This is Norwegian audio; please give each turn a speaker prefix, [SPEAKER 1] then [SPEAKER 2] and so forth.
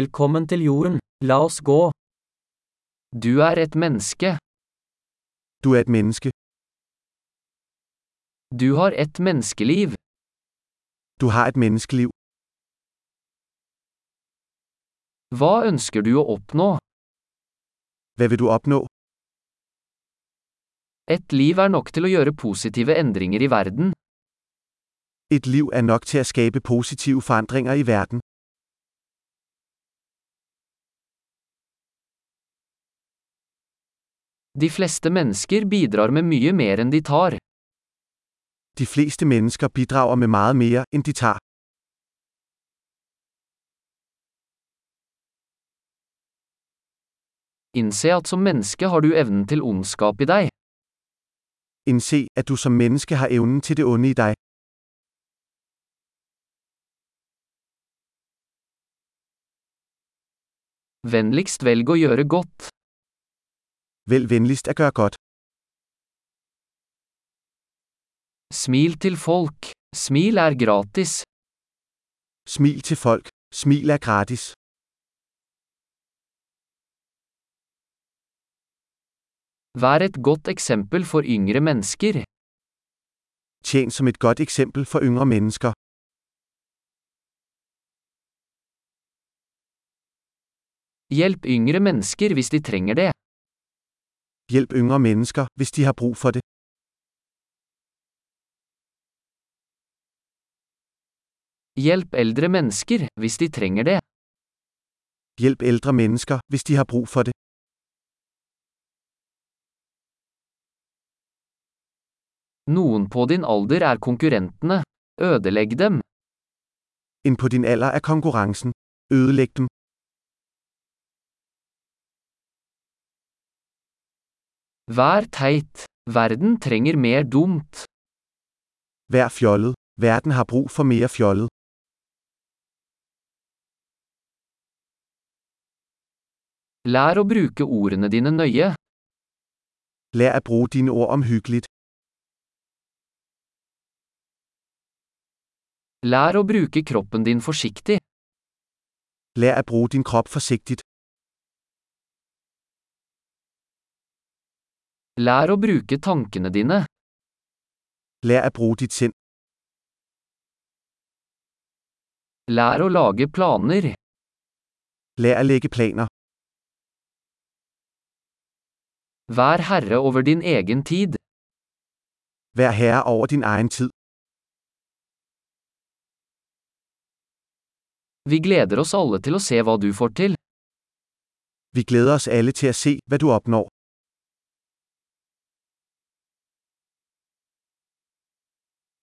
[SPEAKER 1] Velkommen til jorden, la oss gå. Du er et menneske,
[SPEAKER 2] Du er et menneske.
[SPEAKER 1] du har et menneskeliv.
[SPEAKER 2] Du har et menneskeliv.
[SPEAKER 1] Hva ønsker du å oppnå?
[SPEAKER 2] Hvad vil du opnå?
[SPEAKER 1] Et liv er nok til å gjøre positive endringer i verden.
[SPEAKER 2] Et liv er nok til at skabe positive forandringer i verden.
[SPEAKER 1] De fleste mennesker bidrar med mye mer enn de tar.
[SPEAKER 2] De fleste mennesker bidrager med meget mere, end de tager.
[SPEAKER 1] Innse at som menneske har du evnen til ondskap i deg.
[SPEAKER 2] Indse, at du som menneske har evnen til det onde i dig.
[SPEAKER 1] Vennligst velg å gjøre godt.
[SPEAKER 2] Vælg venligst at gøre godt.
[SPEAKER 1] Smil til folk. Smil er gratis.
[SPEAKER 2] Smil til folk. Smil er gratis.
[SPEAKER 1] Vær et godt eksempel for yngre mennesker.
[SPEAKER 2] Tjen som et godt eksempel for yngre mennesker.
[SPEAKER 1] Hjelp yngre mennesker hvis de trenger det.
[SPEAKER 2] Hjælp yngre mennesker, hvis de har brug for det.
[SPEAKER 1] Hjelp eldre mennesker hvis de trenger det.
[SPEAKER 2] Hjælp ældre mennesker, hvis de har brug for det.
[SPEAKER 1] Noen på din alder er konkurrentene. Ødelegg dem.
[SPEAKER 2] En på din alder er konkurrencen. Ødelæg dem.
[SPEAKER 1] Vær teit. Verden trenger mer dumt.
[SPEAKER 2] Vær fjollet. Verden har brug for mere fjollet.
[SPEAKER 1] Lær å bruke ordene dine nøye.
[SPEAKER 2] Lær at bruge dine ord omhyggeligt.
[SPEAKER 1] Lær å bruke kroppen din forsiktig.
[SPEAKER 2] Lær at bruge din krop forsigtigt.
[SPEAKER 1] Lær å bruke tankene dine.
[SPEAKER 2] Lær at bruge dit sind.
[SPEAKER 1] Lær å lage planer.
[SPEAKER 2] Lær at lægge planer.
[SPEAKER 1] Vær herre over din egen tid.
[SPEAKER 2] Vær herre over din egen tid.
[SPEAKER 1] Vi gleder oss alle til å se hva du får til.
[SPEAKER 2] Vi glæder os alle til at se, hvad du opnår.